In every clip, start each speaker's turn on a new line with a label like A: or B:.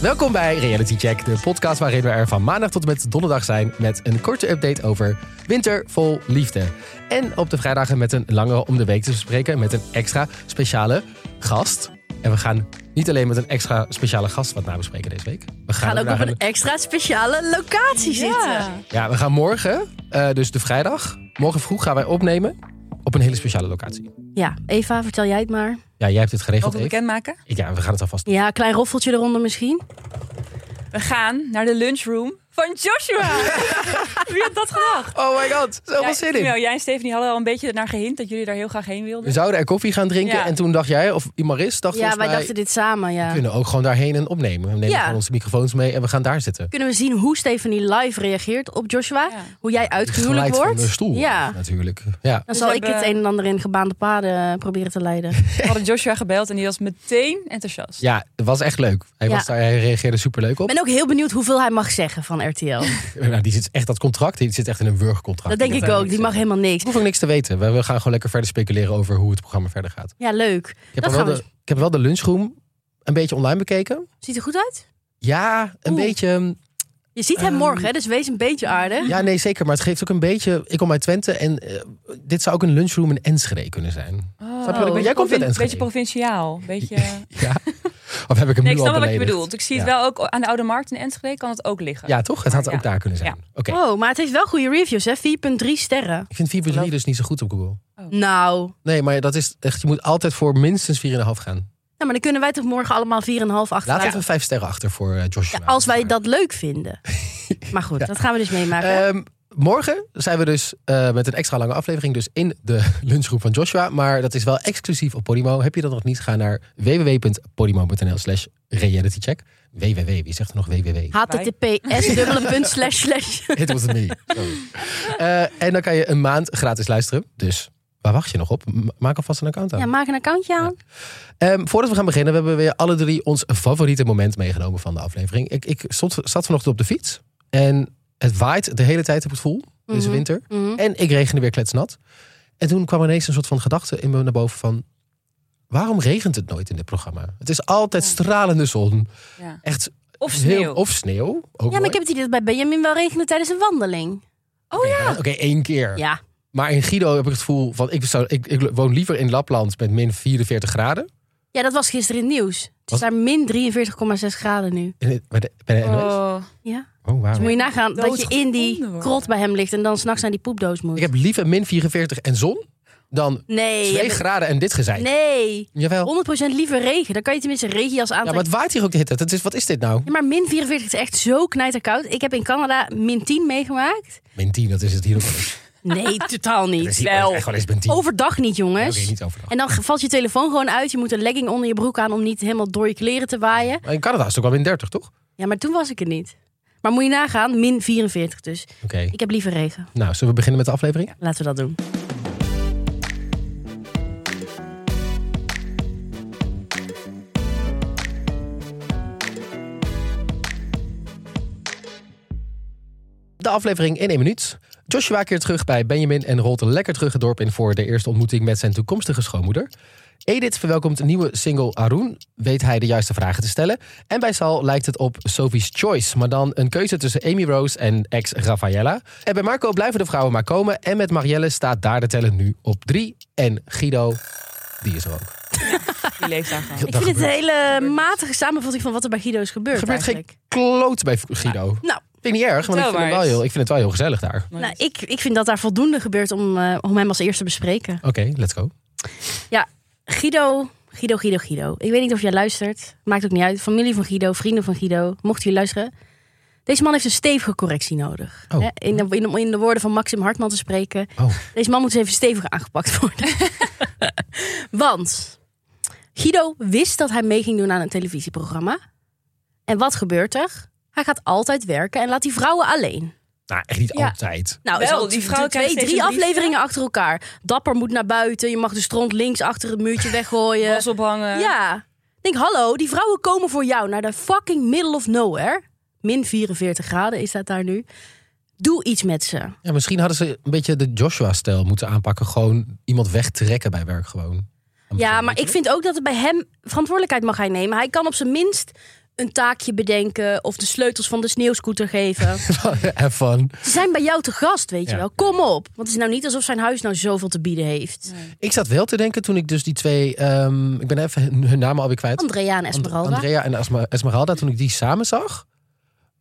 A: Welkom bij Reality Check, de podcast waarin we er van maandag tot en met donderdag zijn met een korte update over winter vol liefde. En op de vrijdagen met een langere om de week te bespreken met een extra speciale gast. En we gaan niet alleen met een extra speciale gast wat nabespreken deze week. We
B: We gaan ook op
A: naar
B: een extra speciale locatie
C: eh,
B: zitten.
A: Ja, we gaan morgen, eh, dus de vrijdag, morgen vroeg gaan wij opnemen op een hele speciale locatie.
B: Ja, Eva, vertel jij het maar.
A: Ja, jij hebt het geregeld,
C: Mogen we
A: Eve.
C: bekendmaken?
A: Ja, we gaan het alvast
B: Ja, klein roffeltje eronder misschien.
C: We gaan naar de lunchroom van Joshua. Wie had dat gedacht?
A: Oh my god, zoveel
C: Jij-
A: zin in.
C: Nou, jij en Stephanie hadden al een beetje naar gehint dat jullie daar heel graag heen
A: We
C: wilden.
A: zouden er koffie gaan drinken
C: Ja.
A: en toen dacht jij, of Maris dacht
B: Ja,
A: volgens
B: wij
A: mij...
B: dachten dit samen, ja.
A: We kunnen ook gewoon daarheen en opnemen. We nemen
B: Ja.
A: gewoon onze microfoons mee en we gaan daar zitten.
B: Kunnen we zien hoe Stephanie live reageert op Joshua?
C: Ja.
B: Hoe jij uitgehuwelijk
A: Geleid van
B: wordt?
A: de stoel,
B: Ja.
A: natuurlijk. Ja.
B: Dan
C: Dus
B: zal
C: we
B: ik
C: hebben-
B: het een en ander in gebaande paden eh, proberen te leiden.
C: We hadden Joshua gebeld en die was meteen enthousiast.
A: ja, het was echt leuk. Hij,
B: Ja.
A: was daar, hij reageerde superleuk
B: Ik
A: op.
B: ben ook heel benieuwd hoeveel hij mag zeggen van RTL.
A: Nou, die zit echt dat contract, die zit echt in een wurgcontract.
B: Dat denk ik ook. Die mag helemaal niks.
A: Ik hoef ook niks te weten. We we gaan gewoon lekker verder speculeren over hoe het programma verder gaat.
B: Ja, leuk.
A: Ik heb,
B: Dat
A: al wel
B: gaan we
A: de, ik heb wel de lunchroom een beetje online bekeken.
B: Ziet er goed uit?
A: Ja, een
B: Oeh.
A: beetje. mm,
B: Je ziet hem
A: Ehm,
B: morgen, hè, dus wees een beetje aardig.
A: Ja, nee, zeker. Maar het geeft ook een beetje... Ik kom uit Twente en eh, dit zou ook een lunchroom in Enschede kunnen zijn.
C: Oh,
A: Snap je wat ik bedoel? Jij komt uit
C: Een beetje
A: Enschede.
C: provinciaal. Beetje...
A: Ja. Of heb ik hem
C: Nee, ik
A: nu al
C: snap wel wat je
A: beledigd?
C: bedoelt. Ik zie het
A: Ja.
C: wel ook aan de Oude Markt in Enschede kan het ook liggen.
A: Ja, toch? Het had
C: Ja.
A: ook daar kunnen zijn. Oké.
B: Oh, maar het heeft wel goede reviews, hè? 4,3 sterren.
A: Ik vind 4.3 dus niet zo goed op Google.
B: Nou, nou,
A: Nee, maar dat is echt, je moet altijd voor minstens 4,5 gaan.
B: Nou, maar dan kunnen wij toch morgen allemaal 4,5
A: Laat
B: achteruit.
A: even 5 sterren achter voor eh, Joshua.
B: Ja, als wij dat leuk vinden. Maar goed, dat gaan we dus meemaken.
A: Ehm, morgen zijn we dus eh, met een extra lange aflevering dus in de lunchgroep van Joshua. Maar dat is wel exclusief op Podimo. Heb je dat nog niet, ga naar www.podimo.nl slash realitycheck. www, wie zegt er nog www?
B: https dubbele punt slash slash.
A: It was me. Sorry. Eh, en dan kan je een maand gratis luisteren. Dus waar wacht je nog op? M- Maak alvast een account aan.
B: Ja, maak een accountje aan.
A: Ehm, voordat we gaan beginnen, we hebben weer alle drie ons favoriete moment meegenomen van de aflevering. Ik, ik stond, zat vanochtend op de fiets en het waait de hele tijd op het voel, deze
B: Mhm.
A: winter.
B: Mhm.
A: En ik regende weer kletsnat. En toen kwam ineens een soort van gedachte in me naar boven van... waarom regent het nooit in dit programma? Het is altijd stralende zon.
C: Ja.
A: Echt
C: Of
A: heel-
C: sneeuw.
A: of sneeuw. Ook
B: Ja, maar ik
A: mooi.
B: heb het idee dat bij Benjamin wel regende tijdens een wandeling.
C: Oh ja.
A: Oké, één keer.
B: Ja,
A: Maar in Guido heb ik het gevoel van... Ik, zou, ik, ik woon liever in Lapland met min 44 graden.
B: ja dat was gisteren in het nieuws. Het is
A: Was-
B: daar min 43,6 graden nu.
A: In het- bij de, bij de NOS.
C: Oh.
B: Ja.
A: Oh,
B: Dus
A: wauw.
B: moet je nagaan dat je in die
C: Doodgevonden worden.
B: krot bij hem ligt en dan s'nachts naar die poepdoos moet.
A: Ik heb liever min 44 en zon dan
B: nee,
A: 2
B: je bent-
A: graden en dit gezeik.
B: nee,
A: Jawel.
B: 100% liever regen. Dan kan je tenminste een regenjas
A: Ja,
B: aantrekken.
A: maar het waait hier ook de hitte. Dat is, wat is dit nou?
B: Ja, maar min 44 is echt zo knijterkoud. Ik heb in Canada min 10 meegemaakt.
A: Min 10, dat is het hier ook. niet.
B: Nee, totaal
A: Dat is
B: niet.
A: hier
C: Wel.
A: echt wel eens min 10.
B: Overdag niet,
A: Oké,
B: jongens.
A: niet overdag.
B: En dan valt je telefoon gewoon uit. Je moet een legging onder je broek aan om niet helemaal door je kleren te waaien.
A: Maar in Canada is het ook wel min 30, toch?
B: Ja, maar toen was ik er niet. Maar moet je nagaan, min 44 dus.
A: Oké.
B: Ik heb liever regen.
A: Nou, zullen we beginnen met de aflevering?
B: Laten we dat doen.
A: De aflevering in één minuut. Joshua keert terug bij Benjamin en rolt lekker terug het dorp in voor de eerste ontmoeting met zijn toekomstige schoonmoeder. Edith verwelkomt een nieuwe single Arun. Weet hij de juiste vragen te stellen? En bij Sal lijkt het op Sophie's Choice, maar dan een keuze tussen Amy Rose en ex Rafaella. En bij Marco blijven de vrouwen maar komen. En met Marielle staat daar de teller nu op drie. En Guido, die is er ook.
C: Die leeft daar gewoon.
B: Ik vind het
A: gebeurt-
B: een hele matige samenvatting van wat er bij Guido is gebeurd
A: Er gebeurt geen
B: eigenlijk.
A: kloot bij Guido.
B: Nou,
A: Vind ik niet erg, want ik
C: Vertel
A: vind, het
C: maar
A: wel
C: eens.
A: heel, ik vind het wel heel gezellig daar.
B: nou ik, ik vind dat daar voldoende gebeurt om, eh, om hem als eerste te bespreken.
A: Oké, let's go.
B: Guido, Guido, Guido, Guido. Ik weet niet of jij luistert. Maakt ook niet uit. Familie van Guido, vrienden van Guido. Mocht jullie luisteren. Deze man heeft een stevige correctie nodig.
A: Oh.
B: Hè, In, de, in, de, in de woorden van Maxim Hartman te spreken.
A: Oh.
B: Deze man moet eens even stevig aangepakt worden. Want Guido wist dat hij mee ging doen aan een televisieprogramma. En wat gebeurt er? Hij gaat altijd werken en laat die vrouwen alleen.
A: Nou, echt niet
C: Ja.
A: altijd.
B: Nou,
C: Wel,
B: is al
C: die
B: t-
C: vrouw
B: twee,
C: krijgt steeds
B: drie
C: een briefje.
B: afleveringen achter elkaar. Dapper moet naar buiten. Je mag de stront links achter het muurtje weggooien.
C: Was ophangen.
B: eh, Ja. Ik Denk, hallo, die vrouwen komen voor jou naar de fucking middle of nowhere. Min 44 graden is dat daar nu. Doe iets met ze.
A: Ja, misschien hadden ze een beetje de Joshua-stijl moeten aanpakken. Gewoon iemand wegtrekken bij werk gewoon.
B: Ja, maar ik vind ook dat het bij hem verantwoordelijkheid mag hij nemen. Hij kan op zijn minst een taakje bedenken of de sleutels van de sneeuwscooter geven.
A: Have fun.
B: Ze zijn bij jou te gast, weet
A: Ja.
B: je wel. Kom op. Want het is nou niet alsof zijn huis nou zoveel te bieden heeft.
A: Ik zat wel te denken toen ik dus die twee... ehm, ik ben even hun, hun namen alweer kwijt.
B: Andrea en Esmeralda.
A: And- Andrea en Asma- Esmeralda, toen ik die samen zag...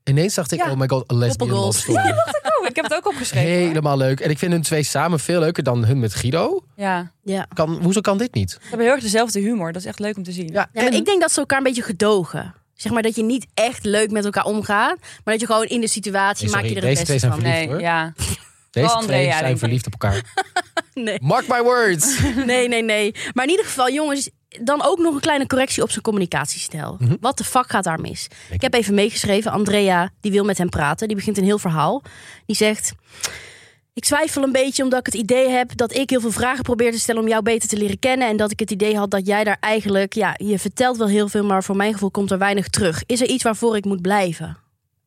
A: Ineens dacht ik,
C: Ja.
A: oh my god, a lesbian
B: Koppelgoals.
A: love story.
C: Oh, ik heb het ook opgeschreven.
A: Helemaal leuk. En ik vind hun twee samen veel leuker dan hun met Guido.
C: Ja.
B: ja.
A: Kan, hoezo kan dit niet?
C: Ze hebben heel erg dezelfde humor. Dat is echt leuk om te zien.
A: Ja,
B: Ja, maar
A: en-
B: ik denk dat ze elkaar een beetje gedogen. Zeg maar dat je niet echt leuk met elkaar omgaat. Maar dat je gewoon in de situatie
A: Nee, sorry,
B: maak je er
A: deze
B: het
A: twee
B: beste
A: zijn
B: van.
A: verliefd,
C: Nee,
A: hoor.
C: ja.
A: Deze
C: Wel Andrea,
A: twee
C: denk
A: zijn
C: ik.
A: verliefd op elkaar.
B: Nee.
A: Mark my words.
B: nee, nee, nee. Maar in ieder geval, jongens, dan ook nog een kleine correctie op zijn communicatiestijl. Wat de fuck gaat daar mis? Ik heb even meegeschreven. Andrea, die wil met hem praten. Die begint een heel verhaal. Die zegt... Ik twijfel een beetje omdat ik het idee heb dat ik heel veel vragen probeer te stellen om jou beter te leren kennen. En dat ik het idee had dat jij daar eigenlijk, ja, je vertelt wel heel veel, maar voor mijn gevoel komt er weinig terug. Is er iets waarvoor ik moet blijven?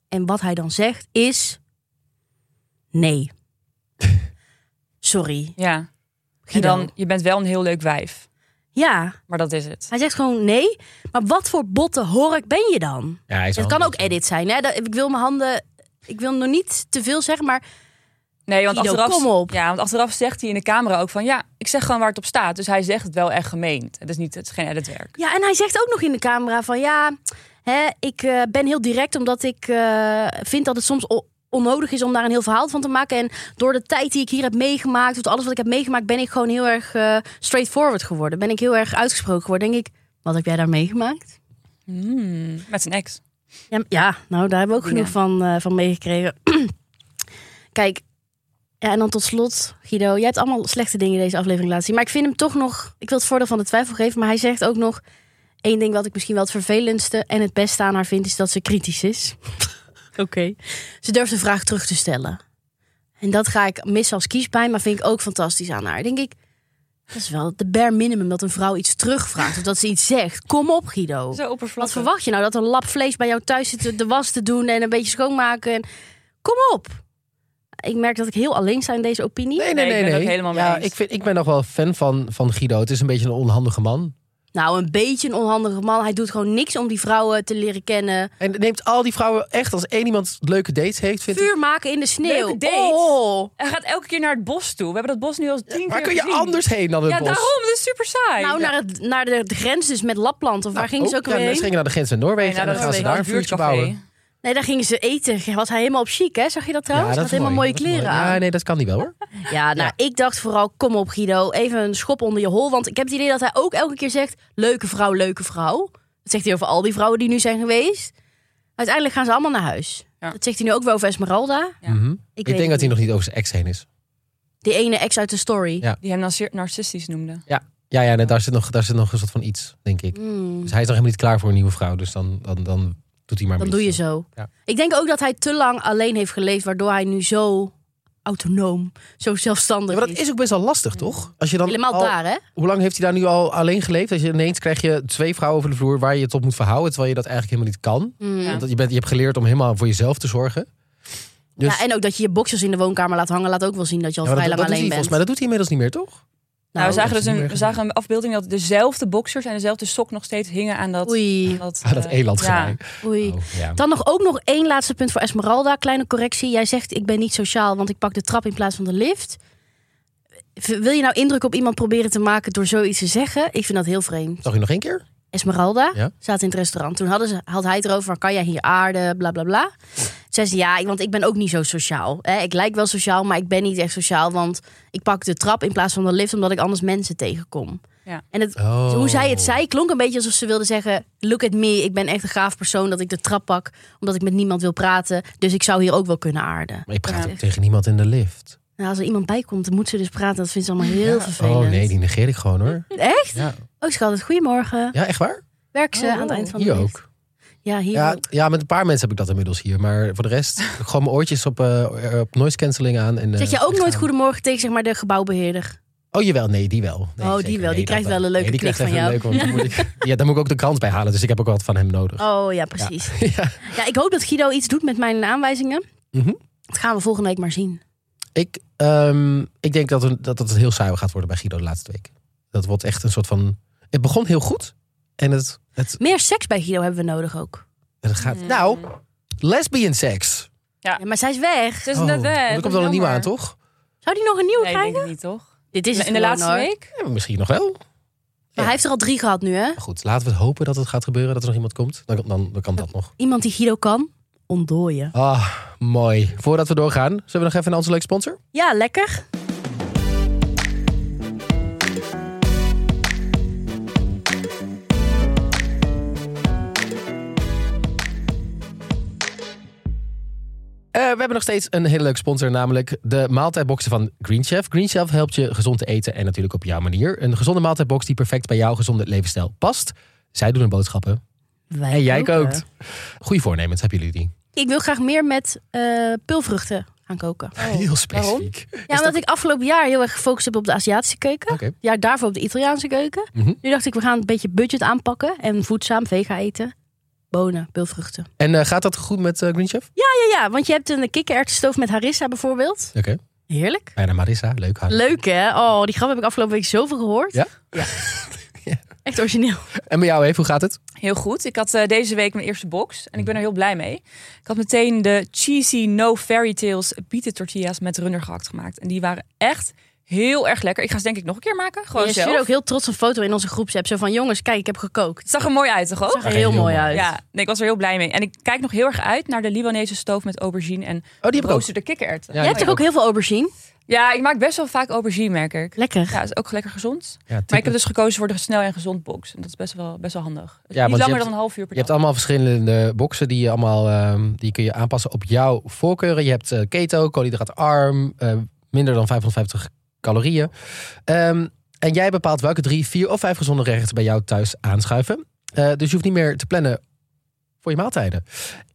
B: En wat hij dan zegt is. Nee. Sorry.
C: ja. En
B: Guido.
C: dan, je bent wel een heel leuk wijf.
B: Ja,
C: Maar dat is het.
B: hij zegt gewoon nee. Maar wat voor botte hork ben je dan?
A: Ja, hij is
B: Het
A: wel
B: kan ook
A: een-
B: edit zijn. Hè? Dat- Ik wil mijn handen. Ik wil nog niet te veel zeggen, maar
C: Nee, want,
B: Guido,
C: achteraf,
B: kom op.
C: Ja, want achteraf zegt hij in de camera ook van... Ja, ik zeg gewoon waar het op staat. Dus hij zegt het wel echt gemeend. Het is, niet, het is geen editwerk.
B: Ja, en hij zegt ook nog in de camera van ja, hè, ik eh, ben heel direct omdat ik eh, vind dat het soms o- onnodig is om daar een heel verhaal van te maken. En door de tijd die ik hier heb meegemaakt, of alles wat ik heb meegemaakt, ben ik gewoon heel erg eh, straightforward geworden. Ben ik heel erg uitgesproken geworden. Denk ik, wat heb jij daar meegemaakt?
C: Hmm, met zijn ex.
B: Ja, m- ja, nou daar hebben we ook genoeg
C: Ja.
B: van, eh, van meegekregen. Kijk, ja, en dan tot slot, Guido, jij hebt allemaal slechte dingen deze aflevering laten zien. Maar ik vind hem toch nog, ik wil het voordeel van de twijfel geven, maar hij zegt ook nog één ding wat ik misschien wel het vervelendste en het beste aan haar vind, is dat ze kritisch is. Oké. Ze durft een vraag terug te stellen. En dat ga ik missen als kiespijn, maar vind ik ook fantastisch aan haar. Denk ik, dat is wel de bare minimum dat een vrouw iets terugvraagt of dat ze iets zegt. Kom op, Guido.
C: Zo
B: Wat
C: oppervlakkig.
B: verwacht je nou? Dat een lap vlees bij jou thuis zit te- de was te doen en een beetje schoonmaken. En... Kom op. Ik merk dat ik heel alleen sta in deze opinie.
A: Nee, nee,
C: Nee, ik
A: nee.
C: ben het
A: nee.
C: ook helemaal mee
A: ja,
C: eens.
A: ik, vind, ik ben nog wel fan van, van Guido. Het is een beetje een onhandige man.
B: Nou, een beetje een onhandige man. Hij doet gewoon niks om die vrouwen te leren kennen.
A: En neemt al die vrouwen echt als één iemand leuke dates heeft. Vindt
B: Vuur maken in de sneeuw.
C: Leuke dates.
B: Oh.
C: Hij gaat elke keer naar het bos toe. We hebben dat bos nu al tien
A: hij-
C: keer
A: Waar kun je
C: gezien.
A: anders heen dan het
C: Ja,
A: bos?
C: daarom. Dat is super saai.
B: Nou, naar, het, naar de grens dus met Lapland. Of waar gingen ze ook
A: ja,
B: weer
A: Ze
B: heen?
A: gingen naar de Nou, grens met Noorwegen
C: Nee, nou, naar
A: en
C: dat
A: dan gaan ze
C: Noorwegen,
A: daar een
C: het
A: vuurtje
C: buurtcafé.
A: bouwen.
B: Nee, daar gingen ze eten. Was hij helemaal op chic, hè? Zag je dat trouwens?
A: dat
B: Hij
A: is
B: had helemaal
A: mooi.
B: mooie
A: Dat is
B: kleren
A: mooi.
B: aan.
A: Ja, nee, dat kan niet wel hoor.
B: Ja, nou, ik dacht vooral, kom op Guido, even een schop onder je hol. Want ik heb het idee dat hij ook elke keer zegt, leuke vrouw, leuke vrouw. Dat zegt hij over al die vrouwen die nu zijn geweest. Uiteindelijk gaan ze allemaal naar huis.
C: Ja.
B: Dat zegt hij nu ook weer over Esmeralda. Ik,
C: Ja.
A: Mhm.
B: weet
A: Ik denk dat
B: het
A: hij
B: niet.
A: nog niet over zijn ex heen is.
B: Die ene ex uit de story.
A: Ja.
C: Die hem narci- narcistisch
A: Nou,
C: noemde.
A: Ja, ja nee, daar, zit nog, daar zit nog een soort van iets, denk ik.
B: Hmm,
A: Dus hij is nog helemaal niet klaar voor een nieuwe vrouw. Dus dan, dan, dan doet hij maar
B: dan
A: een
B: doe je
A: beetje
B: zo.
A: Ja.
B: Ik denk ook dat hij te lang alleen heeft geleefd, waardoor hij nu zo autonoom, zo zelfstandig
A: Ja, maar
B: is.
A: dat is ook best wel lastig, toch? Als je dan
B: Helemaal
A: al-
B: daar, hè?
A: Hoe lang heeft hij daar nu al alleen geleefd? Dat je ineens krijg je twee vrouwen over de vloer waar je je tot moet verhouden, terwijl je dat eigenlijk helemaal niet kan.
B: Hmm.
C: Ja.
B: Ja.
A: Want je, bent, je hebt geleerd om helemaal voor jezelf te zorgen. Dus,
B: en ook dat je je boxers in de woonkamer laat hangen, laat ook wel zien dat je al
A: Ja, maar
B: vrij
A: dat,
B: lang
A: dat doet hij
B: alleen
A: volgens
B: bent.
A: mij. Dat doet hij inmiddels niet meer, toch?
C: Nou, we zagen
A: dat is
C: dus
A: niet
C: een,
A: meer
C: we zagen een afbeelding dat dezelfde boxers en dezelfde sok nog steeds hingen aan dat... aan
B: Oei,
C: dat,
A: Ah, dat
C: eh,
A: eland
C: ja.
B: oei.
A: Oh, ja.
B: Dan nog ook nog één laatste punt voor Esmeralda. Kleine correctie. Jij zegt ik ben niet sociaal, want ik pak de trap in plaats van de lift. V- Wil je nou indruk op iemand proberen te maken door zoiets te zeggen? Ik vind dat heel vreemd.
A: Zag je nog één keer?
B: Esmeralda
A: Ja.
B: zaten in het restaurant. Toen hadden ze, had hij het erover, waar kan jij hier aarde, bla bla bla. Zei ze, ja, ik- want ik ben ook niet zo sociaal. Hè? Ik lijk wel sociaal, maar ik ben niet echt sociaal. Want ik pak de trap in plaats van de lift, omdat ik anders mensen tegenkom.
C: Ja.
B: En het,
A: Oh.
B: hoe zij het zei, klonk een beetje alsof ze wilde zeggen... Look at me, ik ben echt een gaaf persoon dat ik de trap pak... omdat ik met niemand wil praten, dus ik zou hier ook wel kunnen aarden.
A: Maar ik praat
C: Ja.
A: ook tegen niemand in de lift.
B: Nou, als er iemand bij komt, dan moet ze dus praten. Dat vindt ze allemaal heel vervelend.
A: Oh nee, die negeer ik gewoon hoor.
B: Echt?
A: Ja,
B: Oh schat, goedemorgen.
A: ja echt waar?
B: Werk ze
C: Oh,
B: aan het eind van de
A: Hier
B: lift?
A: ook.
B: Ja, hier
A: Ja,
B: ook.
A: ja, met een paar mensen heb ik dat inmiddels hier. Maar voor de rest, gewoon mijn oortjes op, eh, op noise cancelling aan. En, eh,
B: Zeg je ook nooit
A: gaan.
B: goedemorgen tegen zeg maar, de gebouwbeheerder?
A: Oh jawel, nee, die wel. Nee,
B: Oh, die
A: zeker.
B: wel. Die
A: dat
B: krijgt wel een leuke
A: die
B: knik
A: krijgt even
B: van
A: een leuke, want dan moet ik- ja, daar moet ik ook de krant bij halen. Dus ik heb ook wat van hem nodig.
B: Oh ja, precies.
A: Ja.
B: Ja, ik hoop dat Guido iets doet met mijn aanwijzingen.
A: Mhm.
B: Dat gaan we volgende week maar zien.
A: Ik, ehm, ik denk dat, een- dat het heel saai gaat worden bij Guido de laatste week. Dat wordt echt een soort van... Het begon heel goed. En het, het,
B: Meer seks bij Guido hebben we nodig ook.
A: het gaat...
B: Mm.
A: Nou, lesbian seks.
B: Ja, maar zij is weg.
C: Het is
A: Oh,
C: net weg.
A: er
C: Dat
A: komt
C: is
A: wel een nieuwe
C: jammer.
A: aan, toch?
B: Zou die nog een nieuwe
C: Nee, ik
B: krijgen?
C: denk het niet, toch?
B: Dit is het
C: In de
B: gewoon,
C: laatste
B: hoor.
C: week?
A: Ja, misschien nog wel.
B: Maar hij heeft er al drie gehad nu, hè?
A: Maar goed, laten we het hopen dat het gaat gebeuren. Dat er nog iemand komt. Dan, dan, dan kan dat nog.
B: Iemand die Guido kan ontdooien.
A: Ah, mooi. Voordat we doorgaan, zullen we nog even naar onze leuke sponsor?
B: Ja, lekker.
A: Eh, we hebben nog steeds een hele leuke sponsor, namelijk de maaltijdboxen van Green Chef. Green Chef helpt je gezond te eten en natuurlijk op jouw manier. Een gezonde maaltijdbox die perfect bij jouw gezonde levensstijl past. Zij doen de boodschappen
B: Wij
A: en jij
B: koken.
A: kookt. Goeie voornemens hebben jullie die.
B: Ik wil graag meer met eh, pulvruchten gaan koken.
A: Heel specifiek.
B: Ja, omdat ik afgelopen jaar heel erg gefocust heb op de Aziatische keuken.
A: Oké.
B: Ja, daarvoor op de Italiaanse keuken.
A: Mhm.
B: Nu dacht ik, we gaan een beetje budget aanpakken. En voedzaam, vega eten. Bonen, pulvruchten.
A: En eh, gaat dat goed met eh, Green Chef?
B: Ja, ja, want je hebt een kikkererwtenstoof met harissa bijvoorbeeld.
A: Oké.
B: Heerlijk.
A: Bijna Marissa, leuk haar.
B: Leuk, hè? Oh, die grap heb ik afgelopen week zoveel gehoord.
A: Ja?
B: Ja. Echt origineel.
A: En bij jou even, hoe gaat het? Oh,
C: Heel goed. Ik had eh, deze week mijn eerste box en ik ben er heel blij mee. Ik had meteen de cheesy no fairy tales bieten tortillas met runder gehakt gemaakt. En die waren echt heel erg lekker. Ik ga ze denk ik nog een keer maken. Gewoon
B: je
C: zelf.
B: stuurde ook heel trots een foto in onze groepsapp. Zo van, jongens, kijk, ik heb gekookt.
C: Het zag er mooi uit, toch ook?
B: Zag er heel,
A: Heel
B: mooi
A: mooi.
B: uit.
C: Ja, nee, ik was er heel blij mee. En ik kijk nog heel erg uit naar de Libanese stoof met aubergine en
A: Oh, die heb ik ook.
C: roosterde kikkererwten.
A: Ja,
B: Je hebt
A: ik
B: toch ook heel veel aubergine?
C: Ja, ik maak best wel vaak aubergine, merk ik.
B: Lekker.
C: Ja, is ook lekker gezond.
A: Ja,
C: Maar ik
A: tip-
C: heb dus gekozen voor de snel en gezond box. En dat is best wel, best wel handig. Dus
A: Ja, want je
C: Niet langer
A: hebt-
C: dan een half uur per
A: Je hebt
C: dag.
A: allemaal verschillende boxen die je allemaal ehm, die kun je aanpassen op jouw voorkeuren. Je hebt eh, keto, koolhydraatarm, eh, minder dan 550 calorieën. Ehm, en jij bepaalt welke drie, vier of vijf gezonde gerechten bij jou thuis aanschuiven. Eh, dus je hoeft niet meer te plannen voor je maaltijden.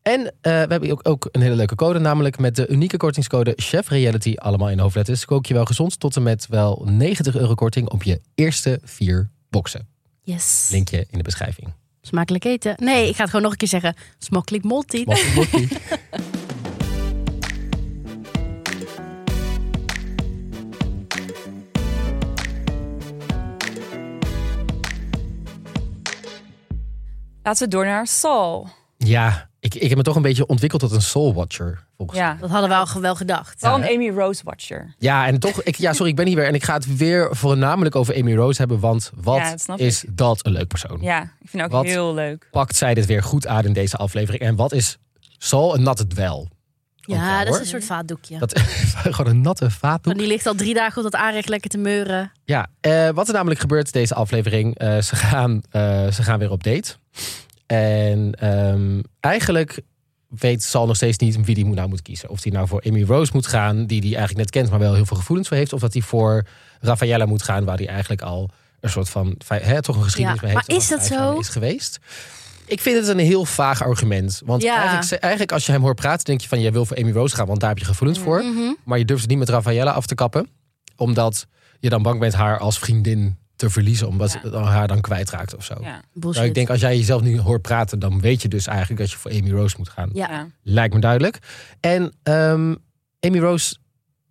A: En eh, we hebben ook, ook een hele leuke code, namelijk met de unieke kortingscode Chef Reality, allemaal in hoofdletters. Kook je wel gezond tot en met wel 90 euro korting op je eerste vier boxen.
B: Yes.
A: Linkje in de beschrijving.
B: Smakelijk eten. Nee, ik ga het gewoon nog een keer zeggen. Smakelijk maltied.
A: Moppie, moppie.
C: Laten we door naar Sal.
A: Ja, ik, ik heb me toch een beetje ontwikkeld tot een soul watcher. Volgens
C: Ja.
B: Dat hadden we al ge- wel gedacht.
C: Wel een Amy Rose Watcher.
A: ja, en toch, ik, ja, sorry, ik ben hier weer. En ik ga het weer voornamelijk over Amy Rose hebben. Want wat
C: Ja, dat snap
A: is dat een leuk persoon?
C: Ja, ik vind het ook
A: Wat?
C: heel leuk.
A: Pakt zij dit weer goed aan in deze aflevering? En wat is soul een natte dwel? Ook wel,
B: ja, dat is
A: hoor.
B: een soort vaatdoekje.
A: Dat gewoon een natte vaatdoek.
B: Want die ligt al drie dagen op dat aanrecht lekker te meuren.
A: Ja, eh, wat er namelijk gebeurt deze aflevering. eh, ze, gaan, eh, ze gaan weer op date. En ehm, eigenlijk weet Sal nog steeds niet wie die moet- nou moet kiezen. Of die nou voor Amy Rose moet gaan, die die eigenlijk net kent... maar wel heel veel gevoelens voor heeft. Of dat hij voor Raffaella moet gaan, waar hij eigenlijk al een soort van... vij- Hè, toch een geschiedenis
B: Ja,
A: mee heeft.
B: maar
A: en
B: is
A: van
B: dat
A: vijf jaar
B: zo?
A: Is geweest. Ik vind het een heel vaag argument. Want
B: Ja.
A: eigenlijk, ze- eigenlijk als je hem hoort praten, denk je van... jij wil voor Amy Rose gaan, want daar heb je gevoelens voor.
B: Mhm.
A: Maar je durft het niet met Raffaella af te kappen. Omdat je dan bang bent haar als vriendin te verliezen. Omdat
C: Ja.
A: ze dan haar dan kwijtraakt of zo.
C: Ja.
B: Bullshit.
A: Nou, ik denk als jij jezelf nu hoort praten. Dan weet je dus eigenlijk dat je voor Amy Rose moet gaan.
B: Ja.
A: Lijkt me duidelijk. En ehm, Amy Rose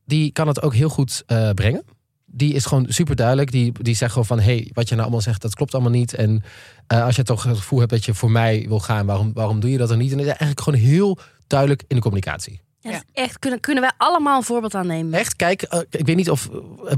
A: die kan het ook heel goed eh, brengen. Die is gewoon super duidelijk. Die, die zegt gewoon van, hey, wat je nou allemaal zegt, dat klopt allemaal niet. En eh, als je toch het gevoel hebt dat je voor mij wil gaan, waarom, waarom doe je dat dan niet? En het is eigenlijk gewoon heel duidelijk in de communicatie.
B: Ja, dat is Echt, kunnen, kunnen wij allemaal een voorbeeld aan nemen?
A: Echt, kijk, eh, ik weet niet of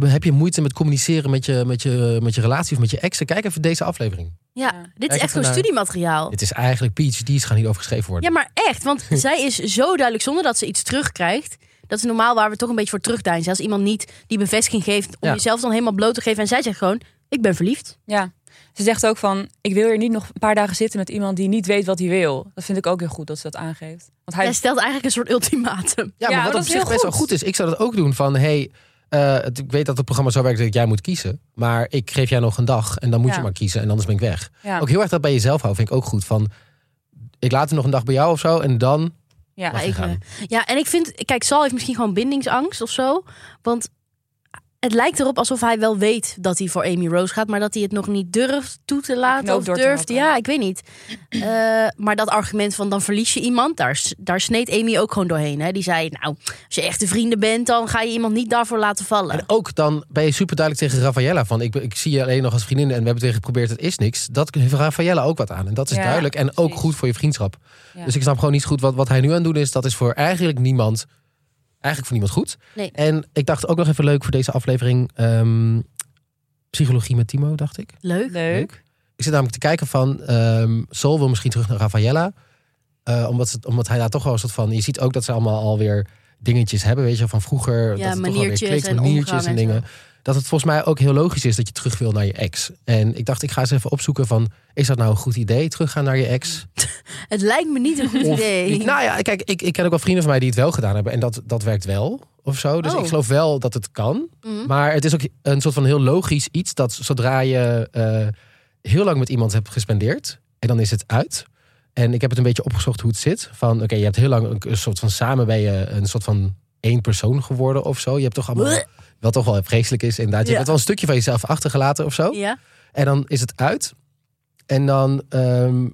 A: eh, heb je moeite met communiceren met je, met je, met je relatie of met je exen. Kijk even deze aflevering.
B: Ja, dit
C: Ja.
B: is
A: Kijk
B: echt
A: even
B: gewoon
A: naar-
C: Oh.
B: studiemateriaal.
A: Het is eigenlijk PhD's gaan hierover geschreven
B: Ja,
A: worden.
B: maar echt. Want zij is zo duidelijk, zonder dat ze iets terugkrijgt... dat is normaal waar we toch een beetje voor terugdijnen. Als iemand niet die bevestiging geeft... om
A: Ja.
B: jezelf dan helemaal bloot te geven. En zij zegt gewoon, ik ben verliefd.
C: Ja. Ze zegt ook van, ik wil hier niet nog een paar dagen zitten met iemand die niet weet wat hij wil. Dat vind ik ook heel goed dat ze dat aangeeft. Want hij
B: Zij stelt eigenlijk een soort ultimatum.
A: Ja, maar
C: Ja, maar
A: wat
C: dat
A: op
C: is
A: zich
C: heel
A: best wel
C: goed.
A: goed is. Ik zou dat ook doen van, hey, eh, het- ik weet dat het programma zo werkt dat jij moet kiezen. Maar ik geef jij nog een dag en dan moet
C: Ja.
A: je maar kiezen en anders ben ik weg.
C: ja.
A: Ook heel erg dat bij jezelf houden vind ik ook goed. Van, ik laat hem nog een dag bij jou of zo en dan
C: Ja.
A: mag je
B: ik,
A: gaan.
B: Ja, en ik vind, kijk, Sal heeft misschien gewoon bindingsangst of zo. Want het lijkt erop alsof hij wel weet dat hij voor Amy Rose gaat, maar dat hij het nog niet durft toe te laten.
C: knoop
B: Of
C: door te
B: durft.
C: hakken.
B: Ja, ik weet niet. Eh, maar dat argument van dan verlies je iemand, daar, s- daar sneed Amy ook gewoon doorheen. Hè? Die zei: Nou, als je echte vrienden bent, dan ga je iemand niet daarvoor laten vallen.
A: En ook dan ben je super duidelijk tegen Raffaella van ik, ben- ik zie je alleen nog als vriendin en we hebben tegen je geprobeerd, het is niks. Dat heeft Raffaella ook wat aan. En dat is
C: Ja,
A: duidelijk en ook
C: precies.
A: goed voor je vriendschap.
C: Ja.
A: Dus ik snap gewoon niet goed wat, wat hij nu aan het doen is. Dat is voor eigenlijk niemand, eigenlijk voor niemand goed.
B: Nee.
A: En ik dacht ook nog even leuk voor deze aflevering, ehm, psychologie met Timo, dacht ik.
B: Leuk.
C: Leuk.
A: Ik zit namelijk te kijken van, ehm Sol wil misschien terug naar Raffaella. Eh, omdat, ze, omdat hij daar toch wel een soort van, je ziet ook dat ze allemaal alweer dingetjes hebben, weet je, van vroeger. dat
B: Ja,
A: het toch wel weer
B: maniertjes
A: klikt,
B: en omgaan en
A: dingen
B: zo.
A: dat het volgens mij ook heel logisch is dat je terug wil naar je ex. En ik dacht, ik ga eens even opzoeken van... is dat nou een goed idee, teruggaan naar je ex?
B: Het lijkt me niet een goed
A: Of
B: idee.
A: niet? Nou ja, kijk, ik, ik ken ook wel vrienden van mij die het wel gedaan hebben. En dat, dat werkt wel, of zo. Dus
B: Oh.
A: ik geloof wel dat het kan.
B: Mhm.
A: Maar het is ook een soort van heel logisch iets... dat zodra je eh, heel lang met iemand hebt gespendeerd... en dan is het uit... En ik heb het een beetje opgezocht hoe het zit. Van oké, je hebt heel lang een, een soort van samen ben je een soort van één persoon geworden of zo. Je hebt toch allemaal. Wat toch wel vreselijk is, inderdaad. Je
B: Ja.
A: hebt wel een stukje van jezelf achtergelaten of zo.
B: Ja.
A: En dan is het uit. En dan ehm,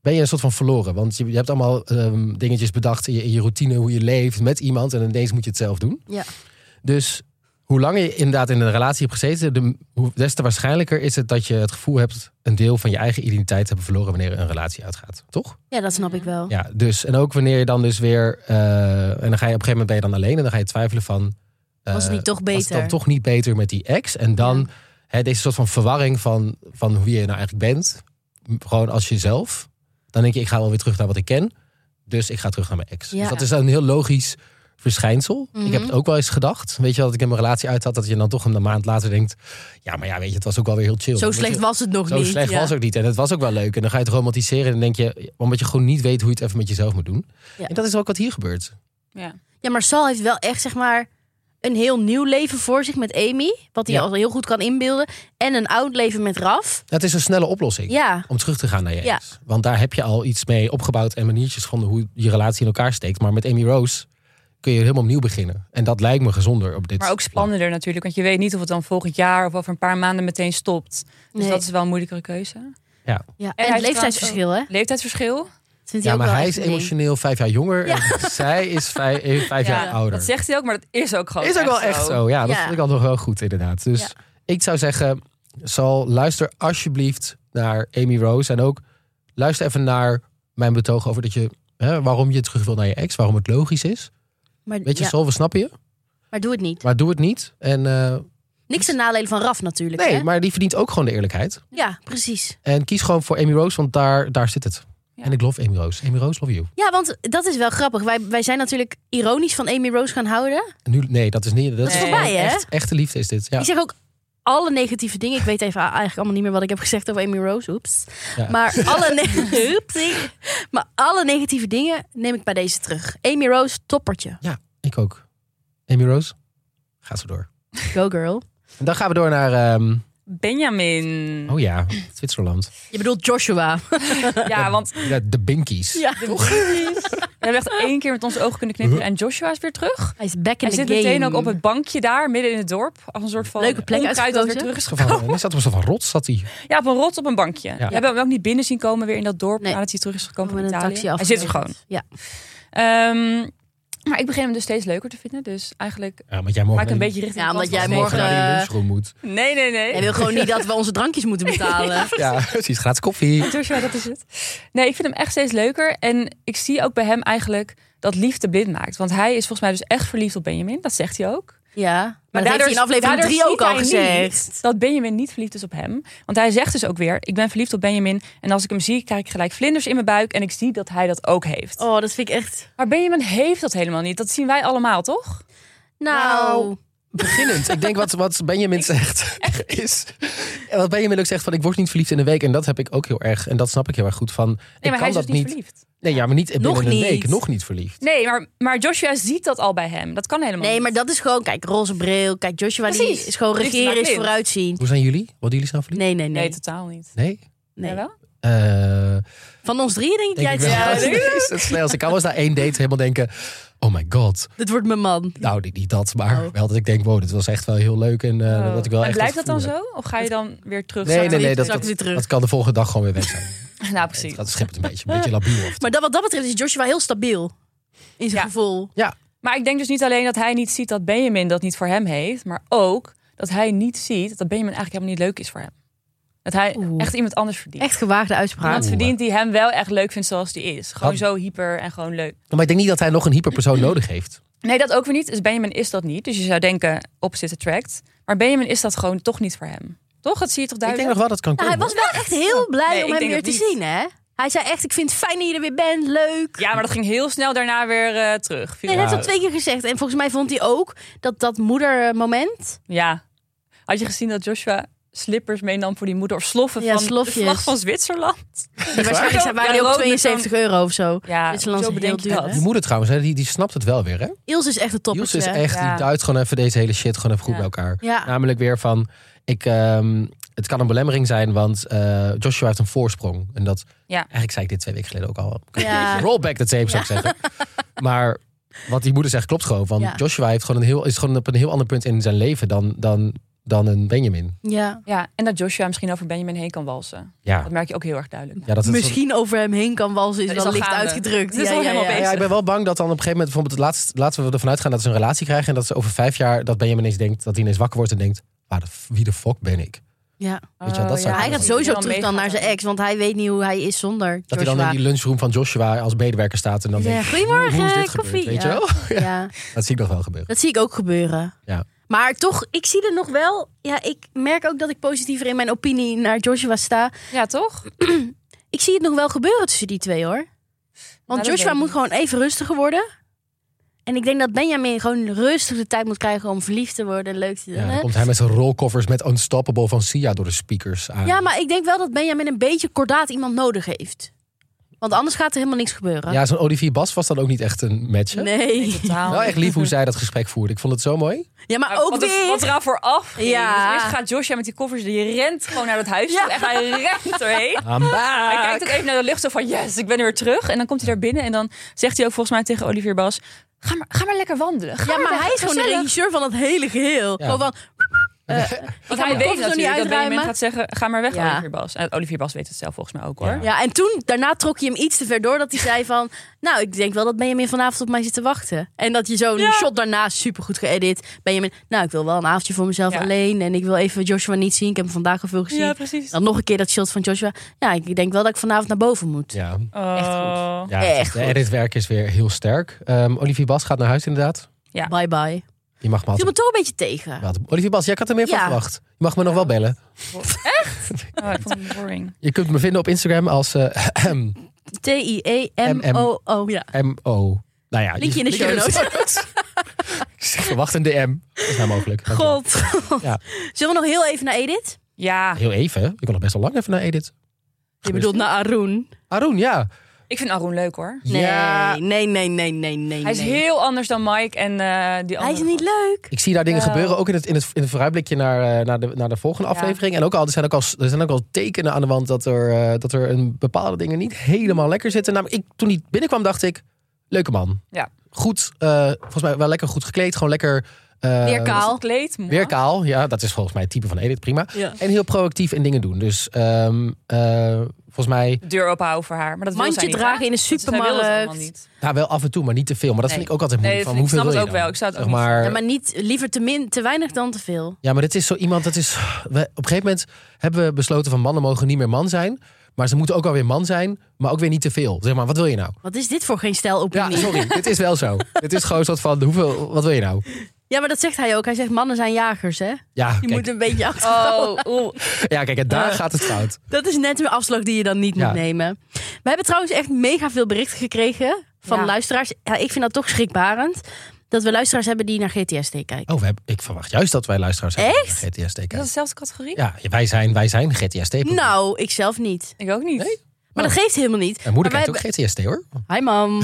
A: ben je een soort van verloren. Want je, je hebt allemaal ehm, dingetjes bedacht in je, in je routine, hoe je leeft met iemand. En ineens moet je het zelf doen.
B: Ja.
A: Dus hoe langer je inderdaad in een relatie hebt gezeten, de, hoe, des te waarschijnlijker is het dat je het gevoel hebt een deel van je eigen identiteit te hebben verloren wanneer een relatie uitgaat. Toch?
B: ja, dat snap ik wel.
A: Ja, dus. En ook wanneer je dan dus weer. eh, en dan ga je op een gegeven moment ben je dan alleen en dan ga je twijfelen van. eh,
B: Was het niet toch
A: was het
B: beter?
A: dan toch niet beter met die ex? En dan
B: Ja.
A: hè, deze soort van verwarring van, van hoe je nou eigenlijk bent. M- Gewoon als jezelf. Dan denk je, ik ga wel weer terug naar wat ik ken. Dus ik ga terug naar mijn ex.
B: Ja.
A: Dus dat is een heel logisch verschijnsel.
B: Mhm.
A: Ik heb het ook wel eens gedacht. Weet je wel, dat ik in mijn relatie uit had. Dat je dan toch een maand later denkt. Ja, maar ja, weet je, het was ook wel weer heel chill.
B: Zo
A: Weet je,
B: slecht was het nog
A: zo
B: niet.
A: slecht
B: ja.
A: was ook niet. En het was ook wel leuk. En dan ga je het romantiseren. En dan denk je, omdat je gewoon niet weet hoe je het even met jezelf moet doen.
B: Ja.
A: En dat is ook wat hier gebeurt.
C: Ja.
B: Ja, maar Sal heeft wel echt, zeg maar, een heel nieuw leven voor zich met Amy. Wat hij
A: Ja.
B: al heel goed kan inbeelden. En een oud leven met Raf.
A: Het is een snelle oplossing.
B: Ja,
A: Om terug te gaan naar je
B: Ja.
A: ex. Want daar heb je al iets mee opgebouwd en maniertjes gevonden hoe je relatie in elkaar steekt. Maar met Amy Rose kun je helemaal opnieuw beginnen. En dat lijkt me gezonder op dit
C: Maar ook
A: plan.
C: spannender natuurlijk, want je weet niet of het dan volgend jaar of over een paar maanden meteen stopt. Dus
B: Nee.
C: dat is wel een moeilijkere keuze.
B: ja. En,
C: hij
B: het
C: heeft
B: leeftijdsverschil, hè?
C: Leeftijdsverschil?
B: Dat vindt hij
A: Ja,
B: ook
A: maar
B: wel
A: hij
B: echt
A: is
B: een ding.
A: emotioneel vijf jaar jonger.
B: Ja.
A: En zij is vijf, eh, vijf jaar ouder.
C: Dat zegt hij ook, maar dat is ook gewoon
A: Is ook wel echt zo. Ja, dat
B: Ja.
A: vind ik al nog wel goed inderdaad. Dus
B: Ja.
A: ik zou zeggen, Sal, luister alsjeblieft naar Amy Rose. En ook luister even naar mijn betoog over dat je, hè, waarom je terug wil naar je ex. Waarom het logisch is.
B: Maar,
A: Weet je,
B: ja,
A: Sal, we snappen je.
B: maar doe het niet.
A: Maar doe het niet. En eh,
B: Niks ten nadele van Raf natuurlijk.
A: nee,
B: hè?
A: maar die verdient ook gewoon de eerlijkheid.
B: Ja, precies.
A: En kies gewoon voor Amy Rose, want daar, daar zit het.
C: Ja.
A: En ik love Amy Rose. Amy Rose, love you.
B: Ja, want dat is wel grappig. Wij, wij zijn natuurlijk ironisch van Amy Rose gaan houden.
A: En nu, nee, dat is niet. Dat,
B: is
A: gewoon
B: voorbij, hè?
A: Echt, echte liefde is dit. Ja.
B: Ik zeg ook alle negatieve dingen. Ik weet even eigenlijk allemaal niet meer wat ik heb gezegd over Amy Rose. Oeps.
A: Ja.
B: Maar, alle ne- Oepsie. maar alle negatieve dingen neem ik bij deze terug. Amy Rose, toppertje.
A: ja, ik ook. Amy Rose, ga zo door.
B: Go girl.
A: En dan gaan we door naar. ehm,
C: Benjamin.
A: Oh ja, Zwitserland.
B: Je bedoelt Joshua.
C: Ja, want
A: Ja, de Binkies.
B: Ja.
C: we hebben echt één keer met onze ogen kunnen knipperen. En Joshua is weer terug.
B: Hij is back in
C: Hij
B: the
C: zit
B: game.
C: meteen ook op het bankje daar, midden in het dorp. Als een soort van
B: Leuke plek
C: onkruid dat weer
B: uitgekozen.
C: terug is gevallen.
A: Gevallen.
B: Oh.
A: En Hij zat op een soort van rot, zat hij.
C: Ja, op een rot op een bankje. We hebben hem ook niet binnen zien komen weer in dat dorp.
B: Nee.
C: Nadat hij terug is gekomen
B: Met
C: van
B: een
C: Italië.
B: taxi
C: hij zit er gewoon.
B: Ja.
C: Ehm, maar ik begin hem dus steeds leuker te vinden. Dus eigenlijk
A: Ja, want jij
C: ga
A: morgen
C: ik een beetje richting...
B: Ja,
C: de
B: omdat
C: kant
B: jij
C: van
B: morgen-
A: naar die
B: eh,
A: lunchroom moet.
C: Steven. Nee, nee, nee.
B: Hij wil gewoon niet dat we onze drankjes moeten betalen.
A: Ja, precies. Gratis koffie.
C: Joshua, dat is het. Nee, ik vind hem echt steeds leuker. En ik zie ook bij hem eigenlijk dat liefde blind maakt. Want hij is volgens mij dus echt verliefd op Benjamin. Dat zegt hij ook.
B: Ja. Maar, dat
C: daardoor-
B: heeft hij in aflevering
C: daardoor
B: 3 ook
C: ziet
B: al
C: hij niet
B: gezegd.
C: Dat Benjamin niet verliefd is op hem. Want hij zegt dus ook weer, ik ben verliefd op Benjamin. En als ik hem zie, krijg ik gelijk vlinders in mijn buik. En ik zie dat hij dat ook heeft.
B: Oh, dat vind ik echt...
C: Maar Benjamin heeft dat helemaal niet. Dat zien wij allemaal, toch?
B: Nou...
A: Beginnend. Ik denk wat, wat Benjamin zegt is... en Wat Benjamin ook zegt van ik word niet verliefd in een week. En dat heb ik ook heel erg. En dat snap ik heel erg goed van... ik
C: Nee, maar
A: kan
C: hij is
A: dat
C: dus niet verliefd.
A: Nee, ja, maar niet binnen
B: Nog
A: een
B: niet.
A: week. Nog niet verliefd.
C: Nee, maar, maar Joshua ziet dat al bij hem. Dat kan helemaal
B: Nee,
C: niet.
B: maar dat is gewoon... Kijk, roze bril. Kijk, Joshua die
C: Precies.
B: is gewoon
C: Liefde
B: regeren,
C: maakt
B: is
C: blind.
B: vooruitzien.
A: Hoe zijn jullie? Wat jullie zijn verliefd?
B: Nee, nee, nee.
C: Nee, totaal niet.
A: Nee?
B: nee.
C: Jawel?
A: Eh,
B: Van ons drieën denk ik
A: denk
B: jij
A: ik
B: het
A: wel.
B: ja,
A: Nee, is het snel. Als ik kan wel eens na één date helemaal denken... oh my god.
B: Dit wordt mijn man.
A: Nou, niet, niet dat, maar
B: Oh.
A: wel dat ik denk, wow, dit was echt wel heel leuk. En, eh,
C: Oh.
A: dat ik wel
C: en
A: echt
C: blijft dat
A: het
C: dan
A: gevoel
C: zo? Of ga je dan weer terug?
A: Nee,
C: zakken?
A: nee, nee,
B: Zak
A: dat,
B: weer
A: dat,
B: terug.
A: dat kan de volgende dag gewoon weer weg zijn.
C: Nou,
A: Het
C: precies.
A: gaat schippert een beetje, een beetje labiel. Of
B: Maar dat, wat dat betreft is Joshua heel stabiel. In zijn
C: Ja.
B: gevoel.
C: Maar ik denk dus niet alleen dat hij niet ziet dat Benjamin dat niet voor hem heeft, maar ook dat hij niet ziet dat Benjamin eigenlijk helemaal niet leuk is voor hem. Dat hij
B: Oeh.
C: echt iemand anders verdient.
B: Echt gewaagde uitspraak.
C: Iemand
A: Oeh.
C: verdient die hem wel echt leuk vindt zoals die is. Gewoon
A: Wat?
C: zo hyper en gewoon leuk.
A: Maar ik denk niet dat hij nog een hyperpersoon nodig heeft.
C: Nee, dat ook weer niet. Dus Benjamin is dat niet. Dus je zou denken, opposite attract. Maar Benjamin is dat gewoon toch niet voor hem. Toch? Dat zie je toch
A: Ik denk
C: duidelijk?
A: nog wel dat kan
B: Nou,
A: komen.
B: hij was wel echt heel blij
C: Nee,
B: om
C: ik
B: hem
C: denk
B: weer
C: dat
B: te
C: niet.
B: zien, hè? Hij zei echt, ik vind het fijn dat je er weer bent, leuk.
C: Ja, maar dat ging heel snel daarna weer eh, terug.
B: Nee, hij heeft
C: Viral.
B: dat twee keer gezegd. En volgens mij vond hij ook dat dat moedermoment...
C: Ja. Had je gezien dat Joshua slippers meenam voor die moeder? Of sloffen
B: Ja,
C: van de
B: slofjes.
C: vlag van Zwitserland?
B: Die waarschijnlijk zijn- waren
C: Ja,
B: die ook
C: rood met
B: 72 euro of zo.
C: Ja,
B: Zwitserland
C: zo
B: is heel
C: bedenk je
B: duur,
C: dat.
B: hè?
A: Die moeder trouwens, hè, die, die snapt het wel weer. Hè?
B: Ilse is echt een
A: Jules
B: toppertje.
A: is echt,
C: Ja.
A: die duidt gewoon even deze hele shit gewoon even goed
C: Ja.
A: bij elkaar.
B: Ja.
A: Namelijk weer van, ik, ehm, het kan een belemmering zijn, want eh, Joshua heeft een voorsprong. En dat,
C: Ja.
A: eigenlijk zei ik dit twee weken geleden ook al.
B: Ja.
A: Rollback dat tape zou ik zeggen. Maar wat die moeder zegt klopt gewoon. Van
B: Ja.
A: Joshua heeft gewoon een heel, is gewoon op een heel ander punt in zijn leven dan, dan, dan een Benjamin.
B: Ja.
C: Ja, en dat Joshua misschien over Benjamin heen kan walsen.
A: Ja,
C: Dat merk je ook heel erg duidelijk.
A: ja dat het
B: Misschien over hem heen kan walsen, is,
C: Dat is
B: wel
C: al
B: licht
C: gaande.
B: uitgedrukt.
C: Dat is al helemaal
A: Ja,
C: bezig.
A: Nou ja, ik ben wel bang dat dan op een gegeven moment, bijvoorbeeld, het laatst, laten we ervan uitgaan dat ze een relatie krijgen. En dat ze over vijf jaar, dat Benjamin ineens denkt, dat hij ineens wakker wordt en denkt, waar de, f- wie de fuck ben ik?
B: Ja.
A: Weet je wel, dat
C: Oh,
A: zou-
C: ja.
B: Hij gaat
A: dat
B: sowieso
C: hij
B: terug dan naar
C: meegaat.
B: zijn ex, want hij weet niet hoe hij is zonder
A: Dat hij
B: Joshua.
A: dan in die lunchroom van Joshua als medewerker staat en dan
B: Ja,
A: denkt, hoe,
B: goedemorgen,
A: hoe is dit
B: koffie.
A: gebeurd? Weet
B: Ja.
A: je wel?
B: Ja.
A: Dat zie ik nog wel gebeuren.
B: Dat zie ik ook gebeuren.
A: Ja.
B: Maar toch, ik zie er nog wel. Ja, ik merk ook dat ik positiever in mijn opinie naar Joshua sta.
C: Ja, toch?
B: Ik zie het nog wel gebeuren tussen die twee hoor.
C: Nou,
B: Want
C: dat weet
B: Joshua
C: ik
B: moet
C: niet.
B: gewoon even rustiger worden. En ik denk dat Benjamin gewoon rustig de tijd moet krijgen om verliefd te worden en leuk te doen.
A: Ja, dan
B: hè?
A: komt hij met zijn rolkoffers met Unstoppable van Sia door de speakers aan.
B: Ja, maar ik denk wel dat Benjamin een beetje kordaat iemand nodig heeft. Want anders gaat er helemaal niks gebeuren.
A: Ja, zo'n Olivier Bas was dan ook niet echt een match. hè?
B: Nee.
C: Totaal.
A: Wel echt lief hoe zij dat gesprek voerde. Ik vond het zo mooi.
B: Ja, maar ook
C: wat, er- wat
B: weer.
C: eraan vooraf ging.
B: Ja.
C: Dus eerst gaat Joshua met die koffers, die rent gewoon naar het huis.
B: Ja.
C: toe. Echt, hij rent erheen.
B: Ah.
A: I'm back.
C: Hij kijkt ook even naar de lucht zo van yes, ik ben weer terug. En dan komt hij daar binnen en dan zegt hij ook volgens mij tegen Olivier Bas... Ga maar, ga maar lekker wandelen. Ga
B: Ja, maar hij is gewoon de
C: gezellig.
B: regisseur van het hele geheel.
A: Ja.
B: Gewoon van,
C: Want
B: ga
C: hij
B: mijn
C: weet
B: koffers nog niet
C: natuurlijk dat Benjamin
B: uitruimen.
C: gaat zeggen... Ga maar weg,
B: Ja.
C: Olivier Bas. En Olivier Bas weet het zelf volgens mij ook hoor.
A: Ja.
B: Ja, en toen, daarna trok je hem iets te ver door dat hij zei van... Nou, ik denk wel dat Benjamin vanavond op mij zit te wachten. En dat je zo'n
C: Ja.
B: shot daarna supergoed geëdit. Benjamin, nou, ik wil wel een avondje voor mezelf
C: Ja.
B: alleen. En ik wil even Joshua niet zien. Ik heb hem vandaag al veel gezien.
C: Ja, precies.
B: Dan nog een keer dat shot van Joshua. Ja, ik denk wel dat ik vanavond naar boven moet.
A: Ja,
B: Echt
C: Oh.
A: ja
B: Echt
A: het,
B: goed.
A: de editwerk is weer heel sterk. Ehm, Olivier Bas gaat naar huis inderdaad.
C: Ja.
B: Bye bye. Ik
A: Je mag me
B: viel
A: altijd...
B: me toch een beetje tegen.
A: Wat? Olivier Bas, jij had er meer van
B: Ja.
A: verwacht. Je mag me nog wel bellen.
C: Oh, ik vond het boring.
A: Je kunt me vinden op Instagram als eh,
B: T-I-E-M-O-O. Ja.
A: MO. Nou ja,
B: Linkje in de show
A: notes. Ik zeg, verwacht een DM. Dat is nou mogelijk. Dank je wel.
B: God.
A: Ja.
B: Zullen we nog heel even naar Edith?
C: Ja,
A: Ah, Heel even. Ik wil nog best wel lang even naar Edith.
B: Je bedoelt naar Arun?
A: Arun, ja.
C: ik vind Arun leuk hoor.
B: Nee,
A: Ja.
B: nee, nee, nee, nee, nee.
C: Hij is
B: nee.
C: heel anders dan Mike en eh, die andere.
B: Hij is niet leuk.
A: Ik zie daar dingen
C: Wel.
A: gebeuren, ook in het, in het, in het vooruitblikje naar, eh, naar, de, naar de volgende
C: Ja.
A: aflevering. En ook al, er zijn ook al, er zijn ook al tekenen aan de wand dat er, eh, dat er een bepaalde dingen niet helemaal lekker zitten. Namelijk, ik, toen hij binnenkwam dacht ik, leuke man.
C: Ja.
A: Goed, eh, volgens mij wel lekker goed gekleed. Gewoon lekker... eh,
B: Weer kaal.
C: Gekleed, mooi.
A: Weer kaal, ja. Dat is volgens mij het type van Edith, prima.
B: Ja.
A: En heel proactief in dingen doen. Dus ehm, eh, volgens mij,
C: De deur openhouden voor haar. Maar dat wil
B: Mandje
C: zij niet, hè?
B: dragen in de
C: Dus zij wil dat
B: supermarkt.
C: allemaal niet.
A: nou wel af en toe, maar niet te veel. Maar dat
C: Nee.
A: vind ik ook altijd moeilijk.
C: Nee,
A: van,
C: dat vind ik-
A: hoeveel wil
C: ik snap het ook
A: je dan?
C: wel. Ik zou het ook
A: Zeg
C: niet
A: maar,
B: Ja, maar niet, liever te, min, te weinig dan te veel.
A: Ja, maar dit is zo iemand, dat is, we, op een gegeven moment hebben we besloten van mannen mogen niet meer man zijn. Maar ze moeten ook alweer man zijn, maar ook weer niet te veel. Zeg maar, wat wil je nou?
B: Wat is dit voor geen stijl
A: Ja,
B: opinie? Ja,
A: sorry, dit is wel zo. Dit is gewoon een soort van, hoeveel, wat wil je nou?
B: maar dat zegt hij ook. Hij zegt mannen zijn jagers, hè? Je
A: Ja,
B: moet
A: kijk,
B: een beetje achter.
C: Oh, oeh.
A: ja, kijk en daar gaat het fout.
B: Dat is net een afslag die je dan niet
A: Ja.
B: moet nemen. We hebben trouwens echt mega veel berichten gekregen van
C: Ja.
B: luisteraars. Ja, ik vind dat toch schrikbarend. Dat we luisteraars hebben die naar GTSD kijken.
A: Oh, we hebben, ik verwacht juist dat wij luisteraars hebben
B: Echt?
A: van GTSD.
C: Is dat dezelfde categorie?
A: Ja, wij zijn, wij zijn GTSD.
B: Nou, ik zelf niet.
C: Ik ook niet.
A: Nee?
B: Maar
A: Oh.
B: dat geeft helemaal niet.
A: Mijn moeder
B: Maar
A: kijkt
B: wij
A: ook GTSD hoor.
B: hebben- Hi mam.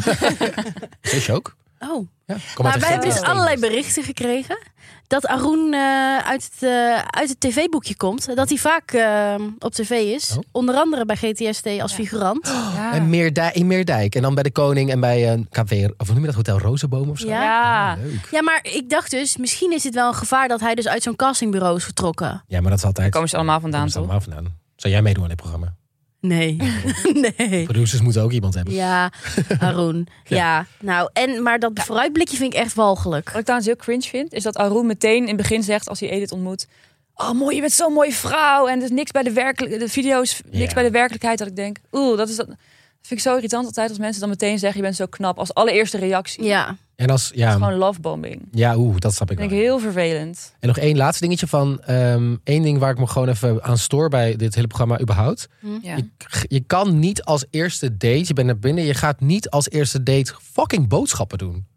A: Zusje ook.
B: Oh,
A: Ja, kom
B: Maar
A: uit de
B: wij hebben dus
A: States.
B: allerlei berichten gekregen dat Arun eh, uit het, eh, uit het tv-boekje komt. Dat hij vaak eh, op tv is.
A: Oh.
B: Onder andere bij GTST als figurant.
C: Ja.
A: En Meerdijk, in Meerdijk. En dan bij de Koning en bij een KV, of hoe noem je dat, Hotel Rozenboom of zo.
B: Ja.
C: Ja.
A: Ah, leuk.
B: Ja, maar ik dacht dus, misschien is het wel een gevaar dat hij dus uit zo'n castingbureau is vertrokken.
A: Ja, maar dat is altijd...
C: Daar komen ze allemaal
A: daar
C: vandaan,
A: komen ze
C: toch?
A: allemaal vandaan. Zou jij meedoen aan dit programma?
B: Nee. nee.
A: Producers moeten ook iemand hebben.
B: Ja, Arun. Ja. nou, en, maar dat vooruitblikje vind ik echt walgelijk.
C: Wat ik trouwens heel cringe vind, is dat Arun meteen in het begin zegt als hij Edith ontmoet. Oh, mooi, je bent zo'n mooie vrouw. En er is niks bij de, werkelijk, de video's, niks
A: Ja.
C: bij de werkelijkheid. Dat ik denk, oeh, dat is dat. dat vind ik zo irritant altijd als mensen dan meteen zeggen, je bent zo knap. Als allereerste reactie.
B: Ja,
A: En als,
C: Dat is
A: ja,
C: gewoon lovebombing.
A: ja oeh, dat snap ik
C: Dat
A: wel.
C: vind ik heel vervelend.
A: En nog één laatste dingetje van... ehm één ding waar ik me gewoon even aan stoor bij dit hele programma überhaupt.
C: Ja.
A: Je kan niet als eerste date, je bent naar binnen... je gaat niet als eerste date fucking boodschappen doen.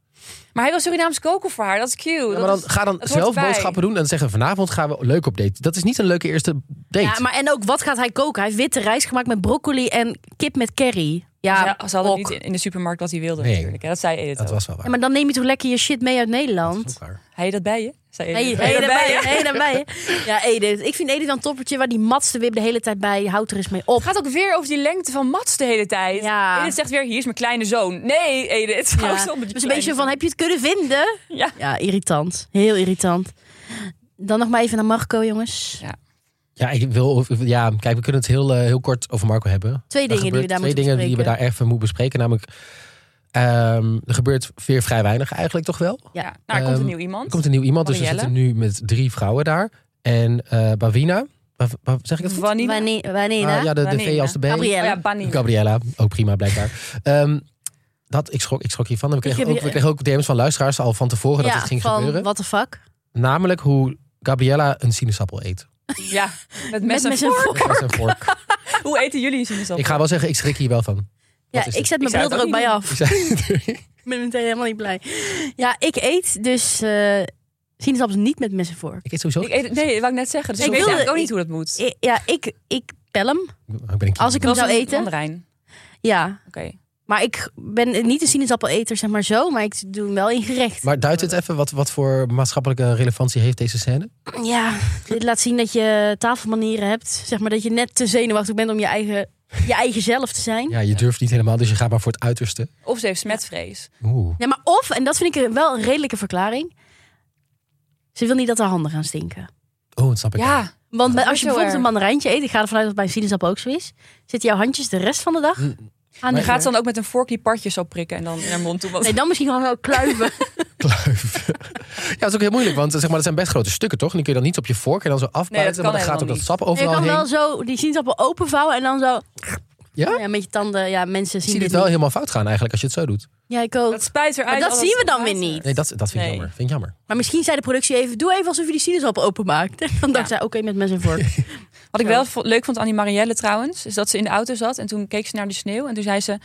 C: Maar hij wil Surinaams koken voor haar. Dat is cute.
A: Ja,
C: Dat
A: maar dan,
C: is-
A: ga dan
C: dat hoort
A: zelf
C: erbij.
A: boodschappen doen en zeggen vanavond gaan we leuk op date. Dat is niet een leuke eerste date.
B: ja maar en ook, wat gaat hij koken? Hij heeft witte rijst gemaakt met broccoli en kip met curry. Ja,
C: Ja, ze hadden
B: ook.
C: niet in- in de supermarkt wat hij wilde
A: Nee.
C: natuurlijk. Ja, dat zei Edith
A: dat
C: ook.
A: was wel waar.
B: Ja, maar dan neem je toch lekker je shit mee uit
A: Dat is
B: Nederland?
A: ook waar.
C: Hij dat bij je? Zei Edith.
B: Hey,
C: Hij
B: hey,
C: dat bij je?
B: daarbij, hey, daarbij. Ja, Edith. Ik vind Edith dan toppertje waar die matste wip de hele tijd bij. Houdt er eens mee op.
C: Het gaat ook weer over die lengte van Mats de hele tijd.
B: Ja.
C: Edith zegt weer, hier is mijn kleine zoon. Nee, Edith.
B: Ja.
C: hou eens op met je
B: Dus een
C: kleine
B: beetje
C: zoon.
B: van, heb je het kunnen vinden?
C: Ja.
B: Ja, irritant. Heel irritant. Dan nog maar even naar Marco, jongens.
A: Ja, ik wil, ja, kijk, we kunnen het heel, eh, heel kort over Marco hebben.
B: Twee
A: Er
B: dingen die we
A: gebeurt
B: daar
A: twee
B: moeten
A: dingen die we
B: bespreken.
A: daar even moeten bespreken. Namelijk, ehm, er gebeurt weer vrij weinig eigenlijk toch wel.
C: Ja. Nou, er komt
A: Ehm,
C: een nieuw iemand.
A: Er komt een nieuw iemand, dus we
C: Marielle.
A: zitten nu met drie vrouwen daar. En eh Bavina, Bav- Bav- zeg ik het goed?
C: Vanina.
B: Wanneer? Wanneer?
A: Ah, ja, de, de V
C: Vanina.
A: als de B.
B: Gabrielle.
C: Oh ja, Banina.
A: Gabriella, ook prima blijkbaar. Ehm, dat, ik, schrok, ik schrok hiervan. En we, kregen
B: heb
A: ook,
B: je-
A: we kregen ook DM's van luisteraars al van tevoren dat
B: Ja,
A: het ging
B: van,
A: gebeuren.
B: what the fuck?
A: Namelijk hoe Gabriella een sinaasappel eet.
C: Ja, met mes en
B: mes en
C: vork.
B: vork.
A: Met zijn vork.
C: Hoe eten jullie een sinaasappel?
A: Ik ga wel zeggen, ik schrik hier wel van.
B: Ja,
A: Wat is
B: ik
A: dit?
B: zet mijn
C: Ik zou
B: bril
C: het
B: er ook
C: ook
B: bij
C: niet
B: af. Ik ben meteen helemaal niet blij. Ja, ik eet dus eh sinaasappels niet met mes en vork.
A: ik eet sowieso...
C: Ik eet- nee, dat wou ik net zeggen. Dus
B: Ik
C: ik, weet
B: wilde-
C: eigenlijk ook niet
B: ik-
C: hoe dat moet.
B: I- ja, ik, ik pel hem.
A: Oh, ik ben een
B: Als ik hem
C: Zoals
B: zou
C: een
B: eten.
C: Mandarijn.
B: Ja,
C: Oké.
B: maar ik ben niet een sinaasappeleter, zeg maar zo. Maar ik doe hem wel in gerecht.
A: Maar duidt het even, wat, wat voor maatschappelijke relevantie heeft deze scène?
B: Ja, dit laat zien dat je tafelmanieren hebt. Zeg maar dat je net te zenuwachtig bent om je eigen, je eigen zelf te zijn.
A: Ja, je durft niet helemaal, dus je gaat maar voor het uiterste.
C: Of ze heeft smetvrees.
A: Oeh.
B: Ja, maar of, en dat vind ik een- wel een redelijke verklaring. Ze wil niet dat haar handen gaan stinken.
A: Oh, dat snap ik.
C: Ja.
B: Want bij- als je
C: Zo
B: bijvoorbeeld
C: erg.
B: een mandarijntje eet, ik ga ervan uit dat bij een sinaasappel ook zo is, zitten jouw handjes de rest van de dag
A: Mm.
B: aan de
C: Dan gaat ze
B: gaat
C: dan ook met een vork die partjes zo prikken en dan in haar mond toe.
B: Nee, dan misschien gewoon wel kluiven.
A: Kluif. ja, dat is ook heel moeilijk, want zeg maar, dat zijn best grote stukken, toch? En die kun je dan niet op je vork en dan zo afbuiten,
C: kan
A: want dan gaat ook
C: helemaal
A: dat sap
B: je
A: overal
B: kan
A: heen.
B: wel zo die sinaasappel openvouwen en dan zo.
A: Ja?
B: met je tanden. Ja, mensen
A: Ik zie
B: zien dit
A: dit wel
B: niet.
A: helemaal fout gaan eigenlijk, als je het zo doet.
B: Ja, ik ook.
C: Dat spijt eruit.
B: Maar dat
C: als
B: zien we dan weer
C: later.
B: niet.
A: Nee, dat, dat vind ik
C: Nee.
A: jammer. Vind ik jammer.
B: Maar misschien zei de productie even: doe even alsof je die sinaasappel openmaakt. En dan dacht zij: oké, met mes en vork.
C: Wat ik
B: Zo.
C: wel vo- leuk vond aan die Marielle trouwens, is dat ze in de auto zat en toen keek ze naar de sneeuw en toen zei ze,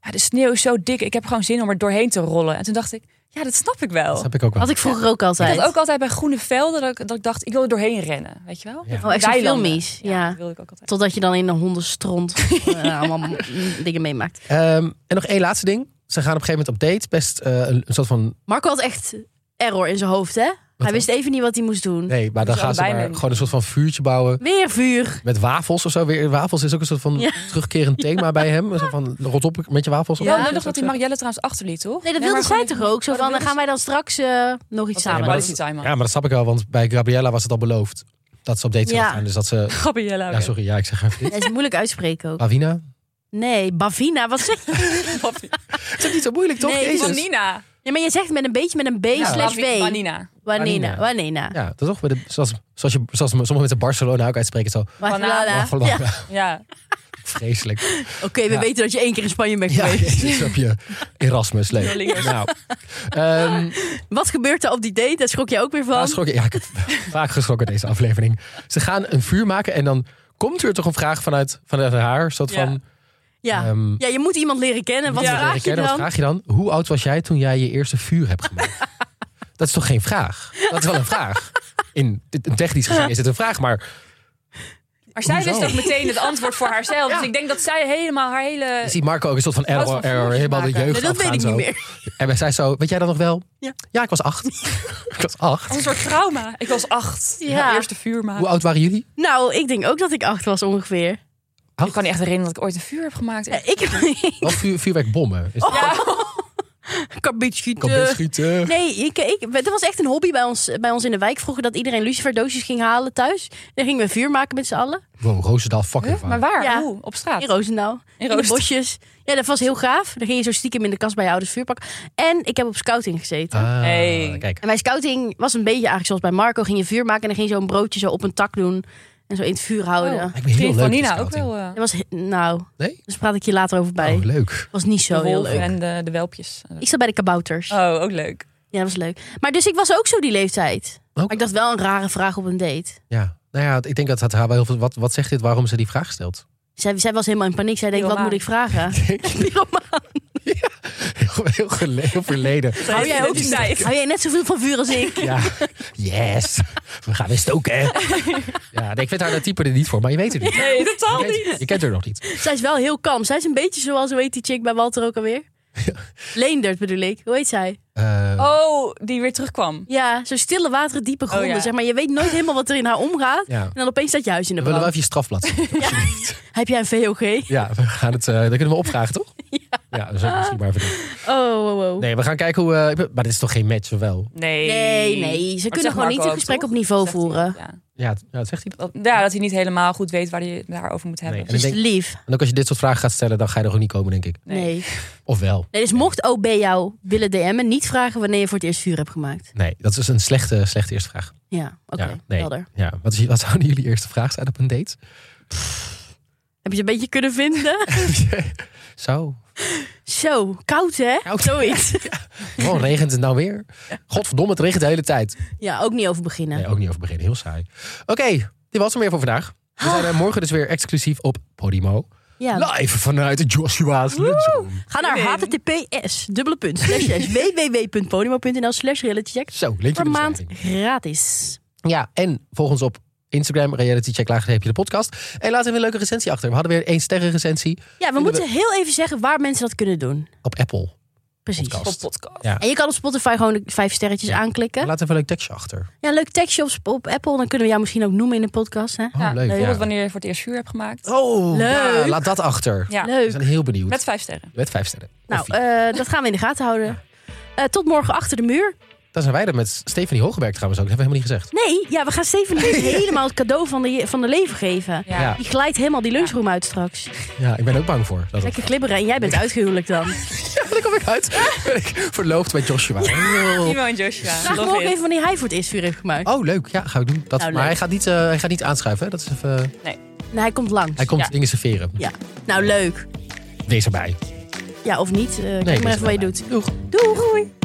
C: ja, de sneeuw is zo dik, ik heb gewoon zin om er doorheen te rollen. En toen dacht ik, ja, dat snap Oh. ik wel.
A: Dat heb ik ook wel.
B: Had ik vroeger ook altijd.
C: Ik had ook altijd bij groene velden dat ik, dat ik dacht, ik wil er doorheen rennen, weet je wel?
A: Ja.
B: Oh, echt zo'n
C: Weilanden.
B: filmies, ja.
C: dat wilde ik ook altijd.
B: Totdat je dan in een hondenstront eh, allemaal m- dingen meemaakt.
A: Ehm, en nog één laatste ding. Ze gaan op een gegeven moment op date. Best eh, een soort van...
B: Marco had echt error in zijn hoofd, hè?
A: dan?
B: hij wist even niet wat hij moest doen.
A: Nee, maar dan
C: Moeten ze
A: gaan ze
C: allebei
A: maar
C: nemen.
A: gewoon een soort van vuurtje bouwen.
B: Weer vuur.
A: Met wafels of zo. Weer, wafels is ook een soort van
B: Ja.
A: terugkerend thema bij hem. Een soort van rot op met je wafels.
C: Ja,
A: op.
C: wel
A: Is
C: nodig
A: ook
C: dat die
A: zo.
C: Marielle trouwens achterliet, toch?
B: Nee, dat
C: maar
B: wilde zij
C: gewoon-
B: toch ook? Zo van,
C: Oh, dat
B: dan
C: wilde
B: gaan wij dan straks eh, nog iets samen
C: Wat zei
A: maar dat-
B: doen.
C: Quality time,
A: Ja,
C: man.
A: maar dat snap ik wel. Want bij Gabriella was het al beloofd. Dat ze op date zou
B: Ja.
A: gaan. Dus dat ze...
C: Gabriella.
A: Ja, sorry. Ja, ik zeg even dit.
B: Dat is moeilijk uitspreken ook.
A: Lavina?
B: Nee, Bavina, wat zeg je?
A: Het is niet zo moeilijk, toch?
B: Nee, het is
A: Jezus.
C: Vanina.
B: Ja, maar je zegt met een beetje met een B
A: Ja.
B: slash W.
C: Vanina.
A: Wanina.
B: Wanina, Wanina.
A: Ja, dat is toch? bij de- Zoals, zoals, je, zoals sommige mensen Barcelona ook uitspreken. Zo,
B: Wanana.
A: Barcelona.
B: Ja.
C: Ja.
A: Vreselijk.
B: Oké, we
A: Ja.
B: weten dat je één keer in Spanje bent
A: Ja,
B: geweest.
A: jezus, heb je Erasmus. Leuk.
C: Duolingo.
A: Nou, ehm,
B: Wat gebeurt er op die date? Daar schrok je ook weer van.
A: Ja, schrokken. Ja, ik heb vaak geschrokken deze aflevering. Ze gaan een vuur maken en dan komt er toch een vraag vanuit, vanuit haar. Een soort
C: Ja.
A: van,
B: ja.
A: ehm,
B: ja, je moet iemand leren kennen. Wat
C: Ja.
A: wat
B: vraag je
A: herkennen, wat
B: dan?
A: vraag je dan? Hoe oud was jij toen jij je eerste vuur hebt gemaakt? dat is toch geen vraag? Dat is wel een vraag. In technisch gezien is het een vraag, maar
C: Maar zij
A: Hoezo?
C: wist ook meteen het antwoord voor haarzelf. Dus ik denk dat zij helemaal haar hele...
B: Eh,
A: Ik zie Marco ook een soort van
C: Als
A: error,
C: van
A: error,
C: voeltjes
A: helemaal de
C: maken.
A: jeugd
B: Nee, dat weet
A: afgaan
B: ik niet
A: zo.
B: meer.
A: En wij zijn zo, weet jij dat nog wel?
B: Ja. Oh.
A: Ja, ik was acht. ik was acht.
C: Als een soort trauma. Ik was acht.
B: Ja.
C: Mijn eerste vuur maken.
A: Hoe oud waren jullie?
B: Nou, ik denk ook dat ik acht was ongeveer.
A: Acht?
C: Ik kan niet echt herinneren dat ik ooit een vuur heb gemaakt.
B: Eh, Ik
A: Of vuur, vuurwerkbommen?
B: Oh.
A: Is dat kan beter schieten?
B: Nee, ik, ik, dat was echt een hobby bij ons, bij ons in de wijk vroeger. Dat iedereen luciferdoosjes ging halen thuis. Dan gingen we vuur maken met z'n allen.
A: Wow, Roosendaal fucking
C: Huh?
A: vaak.
C: Maar waar?
B: Ja.
C: Hoe? Op straat?
B: In Roosendaal. In, de
C: Roosendaal.
B: bosjes. Ja, dat was heel gaaf. Dan ging je zo stiekem in de kast bij je ouders vuur pakken. En ik heb op scouting gezeten.
A: Ah,
C: Hey.
A: Kijk,
B: En bij scouting was een beetje eigenlijk zoals bij Marco. Ging je vuur maken en dan ging je zo'n broodje zo op een tak doen. En zo in het vuur houden.
A: lijkt me heel
C: Vriend
A: leuk. dus
C: van
A: die
C: Nina ook
A: scouting.
C: wel. eh,
B: Dat was, he- nou,
A: Nee?
B: dus praat ik je later over bij.
A: Oh, leuk.
B: was niet zo
C: de
B: heel
C: wolf
B: leuk.
C: en de, de welpjes.
B: Ik zat bij de kabouters.
C: Oh, ook leuk.
B: Ja, dat was leuk. Maar dus ik was ook zo die leeftijd.
A: Ook-
B: Maar ik dacht wel een rare vraag op een date.
A: Ja. Nou ja, ik denk dat het haar wel heel veel... Wat, wat zegt dit waarom ze die vraag stelt?
B: Zij, zij was helemaal in paniek. Zij denkt, wat
C: Pyromaan.
B: moet ik vragen? Pyromaan.
A: Heel, heel, gele- heel verleden.
B: Hou jij ook
C: die
B: niet? Hou jij net zoveel van vuur als ik?
A: Ja, yes. We gaan weer stoken. Ja, nee, ik vind haar dat type er niet voor, maar je weet het niet.
C: Nee, totaal
A: Je kent, je kent haar nog niet.
B: Zij is wel heel kalm. Zij is een beetje zoals, hoe heet die chick bij Walter ook alweer? Leendert bedoel ik. Hoe heet zij?
A: Eh,
C: Oh, die weer terugkwam.
B: Ja, zo stille wateren, diepe gronden.
C: ja.
B: Zeg maar, je weet nooit helemaal wat er in haar omgaat.
A: Ja.
B: En dan opeens staat je huis in de
A: we willen wel
B: brand.
A: even je strafblad zien.
B: Heb jij een VOG?
A: Ja, we gaan het, eh dat kunnen we opvragen, toch? Ja. Ja, dat zou ik misschien maar even doen.
B: Oh, wow, wow.
A: Nee, we gaan kijken hoe... eh, maar dit is toch geen match, of wel?
C: Nee.
B: Nee, nee. Ze
C: Dat
B: kunnen
C: zegt
B: gewoon
C: Marco
B: niet een
C: ook,
B: gesprek
C: toch?
B: op niveau
C: Zegt hij.
B: voeren.
C: Ja.
A: Ja, het- ja, dat zegt hij dat.
C: Dat, ja, dat hij niet helemaal goed weet waar hij het daarover moet hebben.
A: Nee, en
B: Dus
A: ik denk-
B: lief.
A: En ook als je dit soort vragen gaat stellen, dan ga je er ook niet komen, denk ik.
B: Nee.
C: Nee.
B: nee.
A: Of wel?
B: dus mocht OB jou willen DM'en, niet vragen wanneer je voor het eerst vuur hebt gemaakt.
A: Nee, dat is een slechte, slechte eerste vraag.
B: Ja, oké.
A: Ja, nee.
B: helder.
A: Ja, wat, is, wat zouden jullie eerste vraag zijn op een date?
B: Heb je het een beetje kunnen vinden?
A: Zo,
B: Zo, koud hè?
A: Koud.
B: Zoiets.
A: gewoon regent het nou weer? Godverdomme, het regent de hele tijd.
B: Ja, ook niet over beginnen.
A: Nee, ook niet over beginnen. Heel saai. Oké, dit was hem weer voor vandaag. We zijn er morgen dus weer exclusief op Podimo.
B: Ja.
A: Live vanuit Joshua's Lunchroom.
B: Ga naar
C: Zin in.
B: https dubbele punt slash slash www.podimo.nl slash realitycheck
A: Zo, linkje
B: per
A: in de
B: maand
A: beschrijving.
B: gratis.
A: Ja, en volg ons op Instagram, Reality Check, laagstreepje de podcast. En laat even een leuke recensie achter. We hadden weer één sterren recensie
B: Ja, we
A: we-
B: moeten heel even zeggen waar mensen dat kunnen doen.
A: op Apple.
B: Precies.
A: Podcast.
C: Op podcast.
A: Ja.
B: En je kan op Spotify gewoon de vijf sterretjes aanklikken.
A: Laat even een leuk tekstje achter. Oh,
B: Ja, leuk tekstje op, Sp- op Apple. Dan kunnen we jou misschien ook noemen in de podcast. Hè?
A: Oh,
C: Ja,
A: leuk.
C: Bijvoorbeeld
A: Ja.
C: wanneer je voor het eerst vuur hebt gemaakt.
A: Oh,
B: Leuk.
A: ja, laat dat achter.
C: Ja,
A: We
B: Leuk.
A: zijn heel benieuwd.
C: met vijf sterren.
A: Met vijf sterren. Of
B: Nou,
A: vier.
B: eh, dat gaan we in de gaten houden. Eh, tot morgen achter de muur.
A: Dan zijn wij er met Stephanie Hogeberg trouwens ook. Dat hebben we helemaal niet gezegd.
B: Nee, ja, we gaan Steven dus helemaal het cadeau van de, van de leven geven.
C: Ja.
A: Ja.
B: Die glijdt helemaal die lunchroom uit straks.
A: Ja, ik ben er ook bang voor. Dat
B: Lekker glibberen. En jij bent uitgehuwelijk dan.
A: Ja, daar kom ik uit. Ben ik verloofd met Joshua.
C: Timo en Joshua.
B: Vraag
C: Love
B: me ook
C: it.
B: even wanneer hij voor het eerst vuur heeft gemaakt.
A: Oh, leuk. Ja, ga ik doen. Dat,
B: Nou, leuk.
A: maar hij gaat, niet, eh, hij gaat niet aanschuiven. hè? Dat is even,
C: Nee.
B: Nee, hij komt langs.
A: hij komt
C: Ja.
A: dingen serveren.
B: Ja. Nou, leuk.
A: Wees erbij.
B: Ja, of niet. Eh,
A: wees
B: kijk maar even wat je
A: erbij.
B: doet.
A: Doeg.
B: Doei.